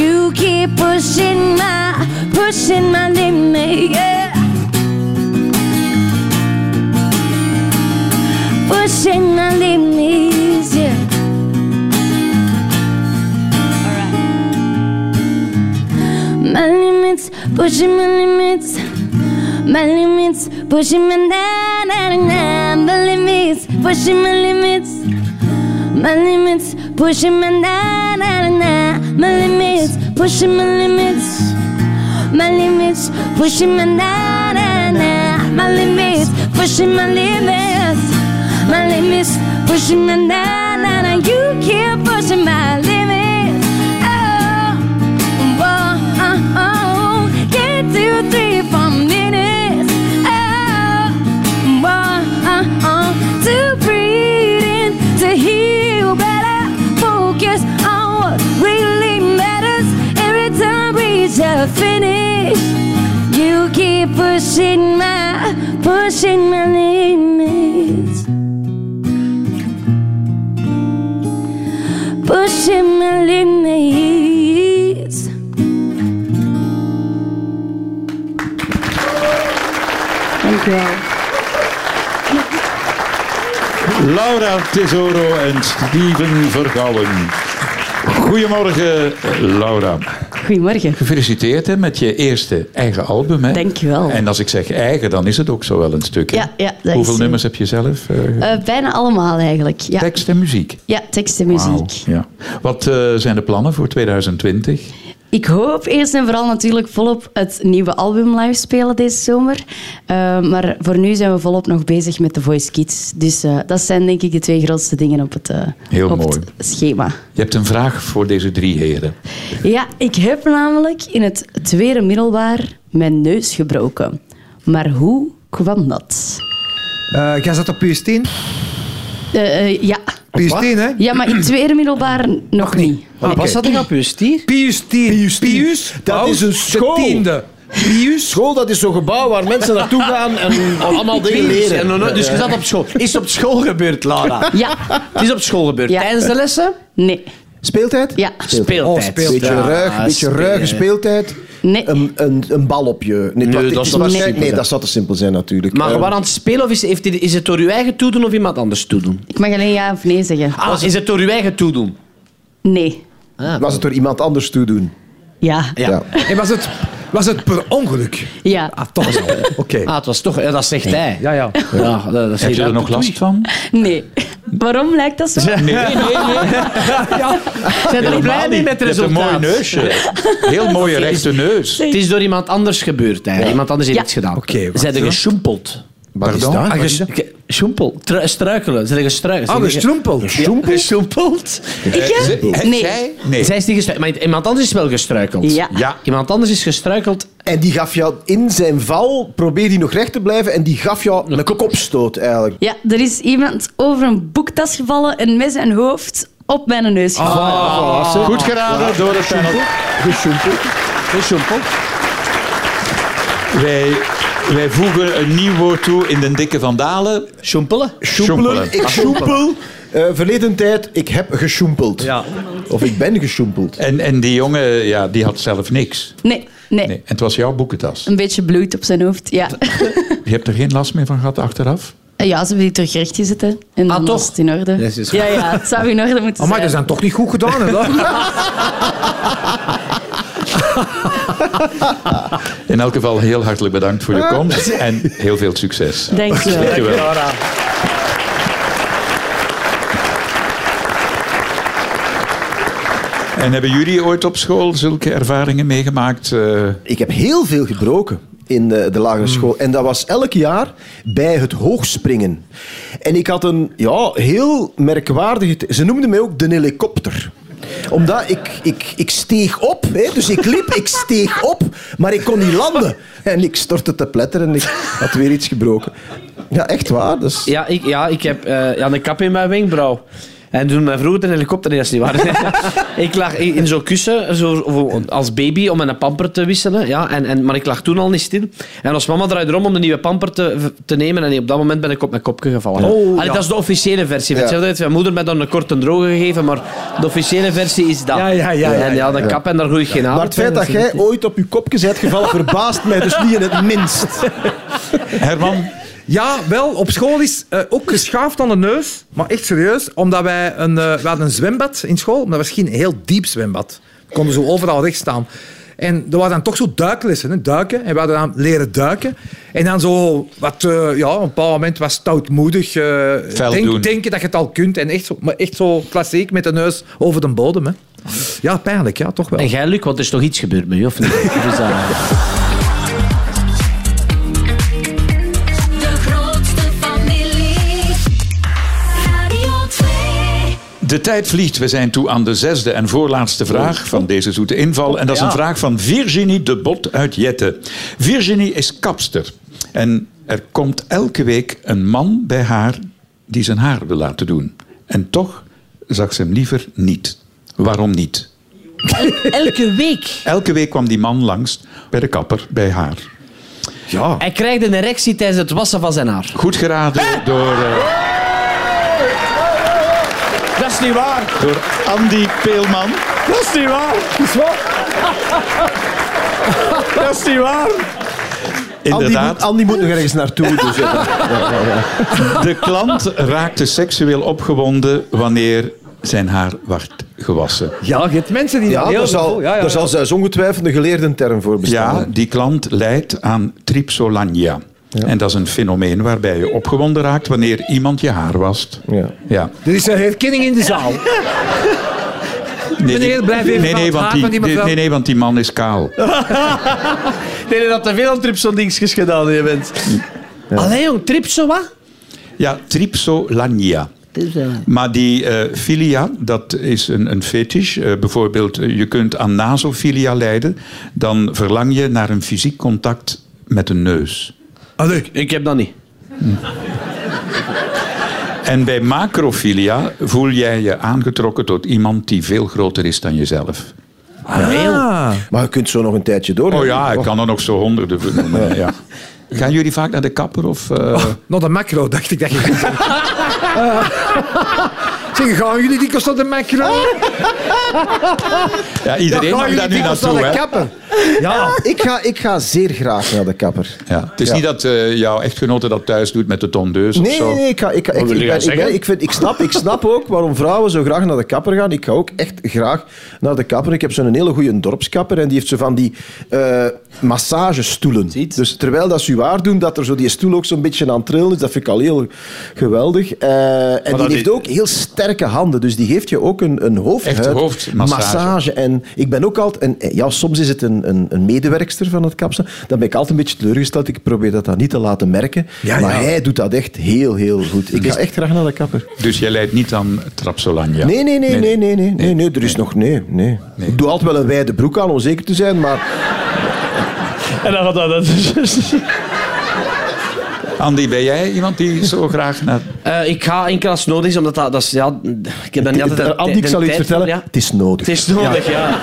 F: you keep pushing my, pushing my limit. Yeah. Pushing my limits, yeah. Alright. My limits, pushing my limits. My limits, pushing my na na na na. My limits, pushing my limits. My limits, pushing my na na na na. My limits, pushing my limits. My limits, pushing my na na na. My limits, pushing my limits. My limits, pushing my na na na. You keep pushing my limits. Oh. Whoa, oh, oh. Get two, three, four minutes. Oh, whoa, oh, oh. To breathe in, to heal better. Focus on what really matters. Every time we just finish, you keep pushing my, pushing my limits. Pushing my limits.
B: Laura Tesoro en Steven Vergouwen. Goedemorgen, Laura.
H: goedemorgen.
B: Gefeliciteerd hè, met je eerste eigen album. Hè?
H: Dankjewel.
B: En als ik zeg eigen, dan is het ook zo wel een stuk. hè?
H: Ja, ja, dat
B: Hoeveel
H: is-
B: nummers heb je zelf? eh,
H: Eh, bijna allemaal eigenlijk. Ja,
B: Tekst en muziek.
H: ja tekst en muziek.
B: Wauw, ja. Wat eh, zijn de plannen voor 2020?
H: Ik hoop eerst en vooral natuurlijk volop het nieuwe album live spelen deze zomer. Eh, maar voor nu zijn we volop nog bezig met de Voice Kids. Dus eh, dat zijn denk ik de twee grootste dingen op het, eh,
B: Heel
H: op
B: mooi.
H: het schema.
B: Je hebt een vraag voor deze drie heren.
H: Ja, ik heb namelijk in het tweede middelbaar mijn neus gebroken. Maar hoe kwam dat?
E: Eh jij zat op PS10?
H: Eh, eh, ja.
E: PS10, hè?
H: ja, maar in het tweede middelbaar nog niet.
C: Wat was dat dan op je stier?
E: Pius 10. Pius,
D: Dat
E: Paus
D: is een school.
E: De tiende. Pius.
D: School, dat is zo'n gebouw waar mensen naartoe gaan
C: Oh,
D: en allemaal dingen leren.
C: En dan- dus je zat op school. Is het op school gebeurd, Lara?
H: Ja,
C: Het is op school gebeurd.
H: Ja.
C: Tijdens de lessen?
H: nee,
D: Speeltijd?
H: ja,
C: Speeltijd.
E: Oh, speeltijd.
D: Beetje
C: Ja,
D: ruig, beetje
C: spelen.
D: ruige speeltijd.
H: nee.
D: Een, een, een bal op je. Nee,
C: dat
D: dat,
C: zou
D: is
C: te
D: waarschijnlijk-
C: simpel
D: nee,
C: zijn.
D: dat zou te simpel zijn natuurlijk.
C: Maar
D: Eh,
C: gewoon aan het spelen of is, heeft dit- is het door uw eigen toedoen of iemand anders toedoen?
H: Ik mag alleen ja of nee zeggen.
C: Ah, is het door uw eigen toedoen?
H: Nee.
D: was het door iemand anders toedoen?
H: Ja,
C: Ja.
E: En was het, was het per ongeluk?
H: ja.
E: Ah, toch wel. Oké.
C: Ah, het was toch... Ja, dat zegt hij.
E: Ja, ja.
C: Ja, dat, dat
B: Heb je er nog last van?
H: Nee. Waarom lijkt dat zo?
C: Zijn er blij mee Ah,
B: Je
C: met het
B: hebt een
C: resultaat?
B: mooi neusje. Heel mooie rechte neus.
C: Het is door iemand anders gebeurd. Hè. Iemand anders heeft
H: Ja.
C: iets gedaan.
E: Oké, wacht,
C: Zijn er gesjoempeld?
D: Wat is
B: Pardon?
D: dat? Oh,
E: Ah, ges-
C: Dus Ge- Sjoempel. Tru- Struikelen. Zijn er gestruikeld?
E: Ah,
C: Zijn er ge-
E: gestrompeld.
C: Ja, gesjoempeld?
H: Ik heb? Nee.
B: Zij? Nee.
C: Zij is niet gestruikeld. Maar iemand anders is wel gestruikeld.
H: Ja.
B: Ja.
C: Iemand anders is gestruikeld.
D: En die gaf jou in zijn val, probeer die nog recht te blijven, en die gaf jou een kopstoot eigenlijk.
H: Ja, er is iemand over een boektas gevallen en met zijn hoofd op mijn neus gevallen.
B: Goed geraden door het panel.
C: Gesjoempeld.
B: Wij, wij voegen een nieuw woord toe in de dikke vandalen.
C: Sjoempelen.
B: Sjoempelen.
D: Ik sjoempel. Eh, verleden tijd, ik heb gesjoempeld.
E: Ja.
D: Of ik ben gesjoempeld.
B: En, en die jongen ja, die had zelf niks.
H: Nee, nee,
B: Nee. En het was jouw boekentas.
H: Een beetje bloed op zijn hoofd, ja. Eh,
B: Je hebt er geen last meer van gehad achteraf?
H: Ja, ze hebben die terug recht gezet, hè. En dan
C: toch?
H: was het in orde.
C: is-
H: ja, ja, het zou in orde moeten
E: Oh, maar dat
H: zijn.
E: is dan toch niet goed gedaan, hè? dat?
B: In elk geval heel hartelijk bedankt voor je
C: Ah.
B: komst en heel veel succes.
H: Dank je wel.
B: Dankjewel. En hebben jullie ooit op school zulke ervaringen meegemaakt? eh,
D: Ik heb heel veel gebroken in de, de
C: Mm.
D: lagere school. En dat was elk jaar bij het hoogspringen. En ik had een ja, heel merkwaardige... t- Ze noemden mij ook de helikopter omdat ik, ik, ik steeg op, hè? dus ik liep, ik steeg op, maar ik kon niet landen. En ik stortte te pletter en ik had weer iets gebroken. Ja, echt waar. Dus Dat is-
C: Ja, ik, ja, ik heb eh, ja, een kap in mijn wenkbrauw. En toen mij vroeger een helikopter, nee, dat is niet waar. ik lag in in zo'n kussen zo, voor- als baby om een pamper te wisselen. Ja, en, en, maar ik lag toen al niet stil. En ons mama draaide erom om de nieuwe pamper te, te nemen. En op dat moment ben ik op mijn kopje gevallen. Allee, Dat is de officiële versie.
D: Ja.
C: Weet je wel, dat heeft Mijn moeder mij dan een korte droge gegeven, maar de officiële versie is dat.
E: Ja, ja, ja, ja,
C: en ja, de kap en daar groeit geen aan.
D: Maar het feit dat jij ooit op je kopje bent gevallen, verbaast mij dus niet in het minst.
B: Herman,
E: Ja, wel. Op school is eh, ook geschaafd aan de neus. Maar echt serieus. Omdat wij een, eh, we hadden een zwembad in school. Maar dat was geen heel diep zwembad. We konden zo overal recht staan. En er waren dan toch zo duiklessen, hè? duiken. En we hadden dan leren duiken. En dan zo, wat, eh, ja, op een bepaald moment was stoutmoedig. eh,
B: Fel
E: denk-
B: doen.
E: denken dat je het al kunt. En echt zo, maar echt zo klassiek met de neus over de bodem. Hè? Ja, pijnlijk, ja, toch wel.
C: En jij, Luc, want er is toch iets gebeurd met je, of niet? Dus, eh,
F: De grootste familie. Radio 2.
B: de tijd vliegt. We zijn toe aan de zesde en voorlaatste vraag van deze zoete inval. En dat is een vraag van Virginie de Bot uit Jette. Virginie is kapster. En er komt elke week een man bij haar die zijn haar wil laten doen. En toch zag ze hem liever niet. Waarom niet?
I: Elke week.
B: Elke week kwam die man langs bij de kapper bij haar.
C: Hij krijgt een erectie tijdens het wassen van zijn haar.
B: Goed geraden door, eh,
C: Dat is niet waar.
B: door Andy Peelman.
C: Dat is niet waar. Dat is waar. Dat is niet waar.
D: Andy
B: Inderdaad.
D: moet, Andy moet nog ergens naartoe. Dus, ja.
B: De klant raakte seksueel opgewonden wanneer zijn haar werd gewassen.
E: Ja, je hebt mensen die
D: Ja,
E: heel
D: daar zal,
E: veel- ja, ja,
D: daar
E: ja.
D: zal zelfs ongetwijfeld een geleerde term voor
B: Ja,
D: bestaan.
B: die klant leidt aan trypsolania. En dat is een fenomeen waarbij je opgewonden raakt wanneer iemand je haar wast.
D: Ja.
B: Ja.
E: Er is een herkenning in de zaal.
B: Nee,
E: Meneer, blijf even
B: nee,
E: van
B: nee,
E: het
B: want
E: haar
B: die,
E: van die mevrouw.
B: nee, nee, want die man is kaal.
C: Nee, nee, dat te veel aan tripsodingsjes gedaan je bent. Allee, jong, tripso wat?
B: Ja, trypsolania. Maar die eh, filia, dat is een, een fetish. Eh, bijvoorbeeld, eh, je kunt aan nasofilia lijden. Dan verlang je naar een fysiek contact met een neus.
D: Ah.
C: Ik heb dat niet.
B: En bij macrofilia voel jij je aangetrokken tot iemand die veel groter is dan jezelf.
E: Ah.
D: Maar je kunt zo nog een tijdje door.
B: Oh ja, ik kan er nog zo honderden vernoemen. Ja. Gaan jullie vaak naar de kapper? Of, eh,
E: Nog de macro, dacht ik. Dat je... Eh, zeg, gaan jullie dikwijls tot de macro?
B: ja, iedereen mag daar nu naartoe. Hè?
D: kapper.
E: Ja.
D: Ik ga, ik ga zeer graag naar de kapper.
B: Ja. Het is niet dat eh, jouw echtgenote dat thuis doet met de tondeus of
D: Nee,
B: zo.
D: nee, nee, ik, ga, ik, ga- ik,
B: wil
D: ik
B: je
D: ben-
B: gaan
D: ik, ben-
B: zeggen?
D: ik vind, ik, snap, ik snap ook waarom vrouwen zo graag naar de kapper gaan. Ik ga ook echt graag naar de kapper. Ik heb zo'n hele goede dorpskapper en die heeft zo van die eh, massagestoelen. Dus terwijl dat ze u waar doen, dat er zo die stoel ook zo'n beetje aan het trillen is, dat vind ik al heel geweldig. Eh, en die
B: dat
D: heeft
B: is-
D: ook heel sterke handen, dus die geeft je ook een, een hoofdhuid.
B: hoofdmassage.
D: massage. En ik ben ook altijd, en eh, ja, soms is het een, een, een medewerkster van het kapsel, dan ben ik altijd een beetje teleurgesteld. Ik probeer dat dan niet te laten merken.
E: Ja,
D: maar
E: ja.
D: hij doet dat echt heel, heel goed. Ik ga echt graag naar de kapper.
B: Dus jij leidt niet aan trapsolania.
D: Nee, nee, nee, nee, nee, nee, nee, nee, er is nog nee, nee. Ik doe altijd wel een wijde broek aan om zeker te zijn, maar
C: En dan gaat dat...
B: Andy, ben jij iemand die zo graag naar...
C: Eh, ik ga enkel als het nodig is, omdat dat... dat is, ja, ik heb daar niet altijd... de-
D: Andy, ik
C: de
D: zal iets
C: tijd
D: vertellen.
C: voor, ja.
D: Het is nodig.
C: Het is nodig, ja.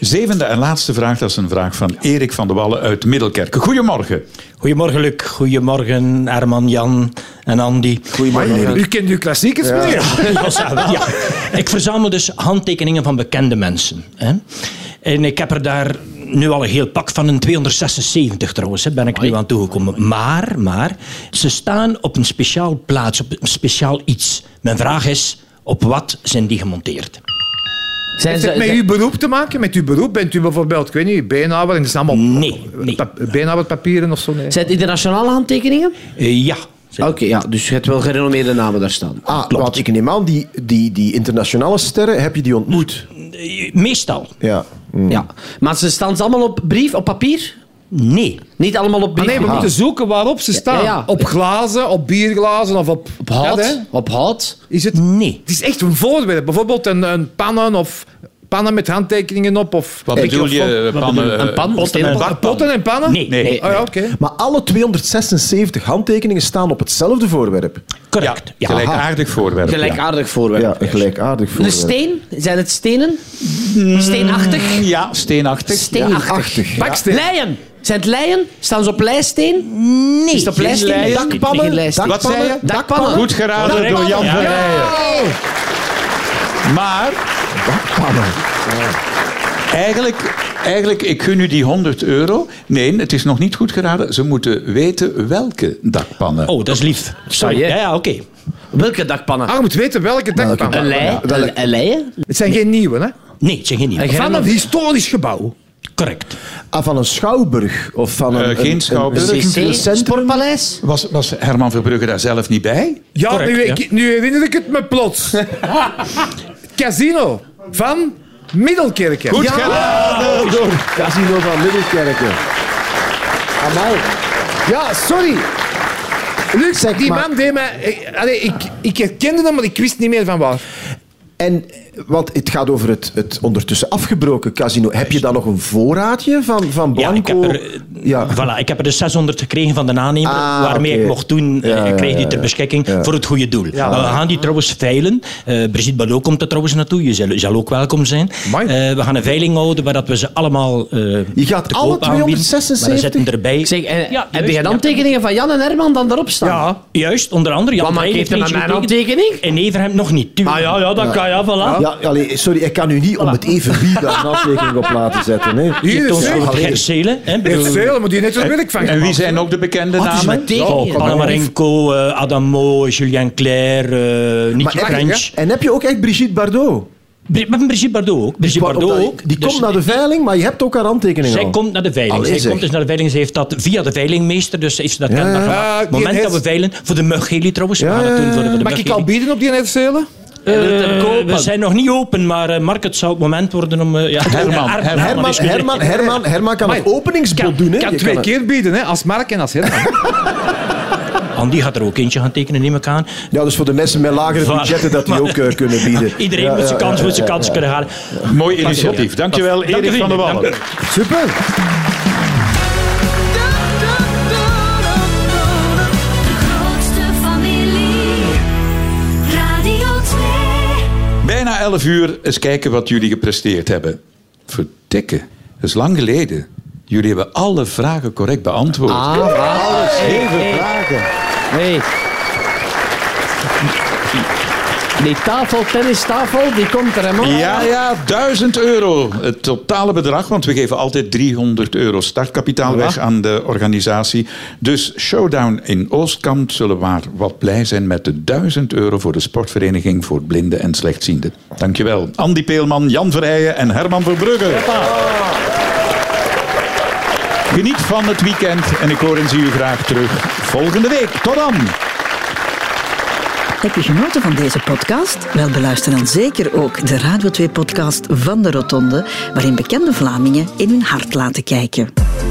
B: Zevende en laatste vraag, dat is een vraag van Erik van de Wallen uit Middelkerk. Goedemorgen.
J: Goedemorgen, Luc. Goedemorgen, Arman, Jan en Andy.
E: U kent uw klassiekers, meneer.
J: Ja, zo wel, ja. Ik verzamel dus handtekeningen van bekende mensen. Hè. En ik heb er daar nu al een heel pak van, een 276 trouwens, hè, ben ik nu aan toegekomen. Maar, maar, ze staan op een speciaal plaats, op een speciaal iets. Mijn vraag is, op wat zijn die gemonteerd?
C: Zijn
E: Heeft het met uw beroep te maken? Met uw beroep bent u bijvoorbeeld, ik weet niet, beenhouwer en er staan allemaal
J: Nee, nee.
E: pa- beenhouwerpapieren of zo? Nee.
C: zijn het internationale handtekeningen?
J: Eh, ja.
C: Oké, ja, dus je hebt wel gerenommeerde namen daar staan.
D: Ah, want ik neem aan, die, die, die internationale sterren, heb je die ontmoet?
J: Eh, Meestal,
D: Ja.
C: Ja. Maar ze staan ze allemaal op brief, op papier?
J: nee.
C: Niet allemaal op
E: Ah,
C: brief?
E: nee, we
C: Ah.
E: moeten zoeken waarop ze staan.
C: ja, ja.
E: Op glazen, op bierglazen of op...
C: Op hout.
E: Ja, hè?
C: op hout.
E: Is het?
J: Nee.
E: Het is echt een voorwerp. Bijvoorbeeld een, een pannen of pannen met handtekeningen op. Of
B: Wat bedoel je? Pannen,
C: Een pan,
B: eh,
C: een steenpan.
B: bakpan?
E: Potten en pannen?
J: Nee.
B: Nee.
E: Oh, ja, oké.
D: Maar alle 276 handtekeningen staan op hetzelfde voorwerp.
B: Ja,
J: Correct. Ja.
B: gelijkaardig voorwerp. ja.
C: Gelijkaardig voorwerp.
D: Ja, een gelijkaardig
C: Een
D: voorwerp.
C: steen? Zijn het stenen? Steenachtig?
B: Ja, steenachtig.
C: Steenachtig.
E: Baksteen.
C: Leien. Zijn het leien? Staan ze op leisteen?
J: Nee.
C: Is het op leisteen?
B: leien.
C: Dakpannen? Geen leisteen.
B: Wat zei je?
C: Dakpannen.
B: Goed geraden door Jan van Maar... Eigenlijk, eigenlijk, ik gun u die 100 euro. Nee, het is nog niet goed geraden. Ze moeten weten welke dakpannen.
J: Oh, dat is lief. Sorry.
C: Sorry, hè?
J: Ja, ja oké.
C: Welke dakpannen?
E: Ah, je moet weten welke dakpan.
C: Een lei? Een- Een leien?
E: Het zijn geen nieuwe, hè?
J: Nee, het zijn geen nieuwe.
E: Van een historisch gebouw.
J: Correct.
D: Ah, van een schouwburg? Of van een,
B: Eh, geen
D: een- een-
B: schouwburg.
D: een cultureel centrum?
C: Sportpaleis?
B: Was, was Herman Verbrugge daar zelf niet bij?
E: Ja,
J: Correct,
E: nu,
J: ja.
E: ik- nu herinner ik het me plots. Casino van Middelkerken.
B: Goed
E: Ja.
B: geraden door...
D: Casino van Middelkerken. Amai. Ja, sorry.
E: Luc,
D: Zeg
E: die
D: maar.
E: man deed mij... Ik, allee, ik, ik herkende hem, maar ik wist niet meer van waar.
D: En, eh, want het gaat over het, het ondertussen afgebroken casino. Heb je dan nog een voorraadje van, van
J: Ja, ik
D: Blanco?
J: heb, er, eh,
D: Ja.
J: Voilà, ik heb er de 600 gekregen van de aannemer,
D: Ah,
J: waarmee
D: oké.
J: ik mocht doen. eh,
D: Ja,
J: ik kreeg
D: ja,
J: die ter
D: ja,
J: beschikking voor het goede doel. Maar we gaan die trouwens veilen. Eh, Brigitte Ballot komt er trouwens naartoe. Je zal, zal ook welkom zijn.
E: Amai.
J: Eh, we gaan een veiling houden waar dat we ze allemaal eh
D: Je gaat
J: te
D: alle
J: koop aanbieden.
D: 276?
J: Maar er zitten erbij...
C: Zeg, eh,
J: Ja,
C: heb
J: juist,
C: je
J: ja.
C: dan tekeningen van Jan en Herman dan daarop staan?
E: Ja.
J: Juist, onder andere... Jan
C: Want maar
J: Breij
C: geeft hem
J: heeft
C: aan
J: niks
C: mijn
J: getekend.
C: handtekening?
J: En Everhem nog niet. tuurlijk.
C: Ah, ja, dat kan, ja, voilà.
D: Ja, allee, sorry, ik kan u niet om het even wie daar een aflevering op laten zetten. Hè.
E: Hier,
C: Toon
E: zeg.
C: van Gerzelen. hè, bedoel-
E: Heeft Zelen, maar die net zo wil ik van
B: En wie
E: gemaakt.
B: zijn ook de bekende
K: Wat is
B: namen?
K: mijn tegen?
C: Oh, Panamarenko, eh, Adamo, Julien Clerc, eh Nicky
D: Maar echt,
C: French.
D: En heb je ook echt Brigitte Bardot?
C: Bri- Maar Brigitte Bardot ook. Brigitte
D: Waar- op
C: Bardot
D: dat-
C: ook.
D: Die
C: Dus
D: komt naar de veiling, maar je hebt ook haar handtekening
C: Zij
D: al.
C: komt naar de veiling.
D: Allee,
C: Zij
D: zeg.
C: komt dus naar de veiling. Ze heeft dat via de veilingmeester, dus heeft ze dat
D: Ja,
C: kenbaar
D: ja.
C: gemaakt.
E: Ah,
C: het moment
E: die
C: dat we
E: heeft-
C: veilen, voor de Mugcheli trouwens, we
D: Ja,
C: gaan dat
D: ja,
C: doen voor de, voor de
E: Mag ik
C: Mugcheli.
E: al bieden op die net Zelen?
C: Eh,
K: wil hem kopen.
C: we zijn nog niet open, maar eh, Mark, het zou het moment worden om... eh, ja,
B: Herman,
C: Ar-
B: Herman.
D: Herman,
C: is goed.
D: Herman, Herman, Herman kan het openingsbod
C: kan-
D: doen. Hè.
E: Ik kan
D: Je
E: twee
D: kan het-
E: keer bieden, hè? als Mark en als Herman.
C: Andy gaat er ook eentje gaan tekenen, neem ik aan.
D: Ja, dus voor de mensen met lagere
C: Voilà.
D: budgetten dat die
C: Maar-
D: ook eh, kunnen bieden.
C: Iedereen
D: Ja,
C: moet zijn
D: ja,
C: kans,
D: ja,
C: moet zijn
D: ja,
C: kans
D: ja.
C: kunnen halen.
B: Mooi initiatief. Dankjewel,
C: Dank
B: Erik
C: u,
B: van der
C: dank
B: Wallen.
C: u.
D: Super.
F: De grootste familie. Radio 2.
B: Bijna 11 uur, eens kijken wat jullie gepresteerd hebben. Vertikken, dat is lang geleden. Jullie hebben alle vragen correct beantwoord.
D: Alles even vragen.
K: Nee. Die tafeltennis tafel, die komt er helemaal.
B: Ja, ja, 1000 euro. Het totale bedrag, want we geven altijd 300 euro startkapitaal weg aan de organisatie. Dus Showdown in Oostkamp zullen maar wat blij zijn met de 1000 euro voor de sportvereniging voor blinden en slechtzienden. Dankjewel. Andy Peelman, Jan Verheijen en Herman Verbrugge. Geniet van het weekend en ik hoor en zie u graag terug volgende week. Tot dan!
H: Heb je genoten van deze podcast? Wel, beluister dan zeker ook de Radio 2-podcast van de Rotonde, waarin bekende Vlamingen in hun hart laten kijken.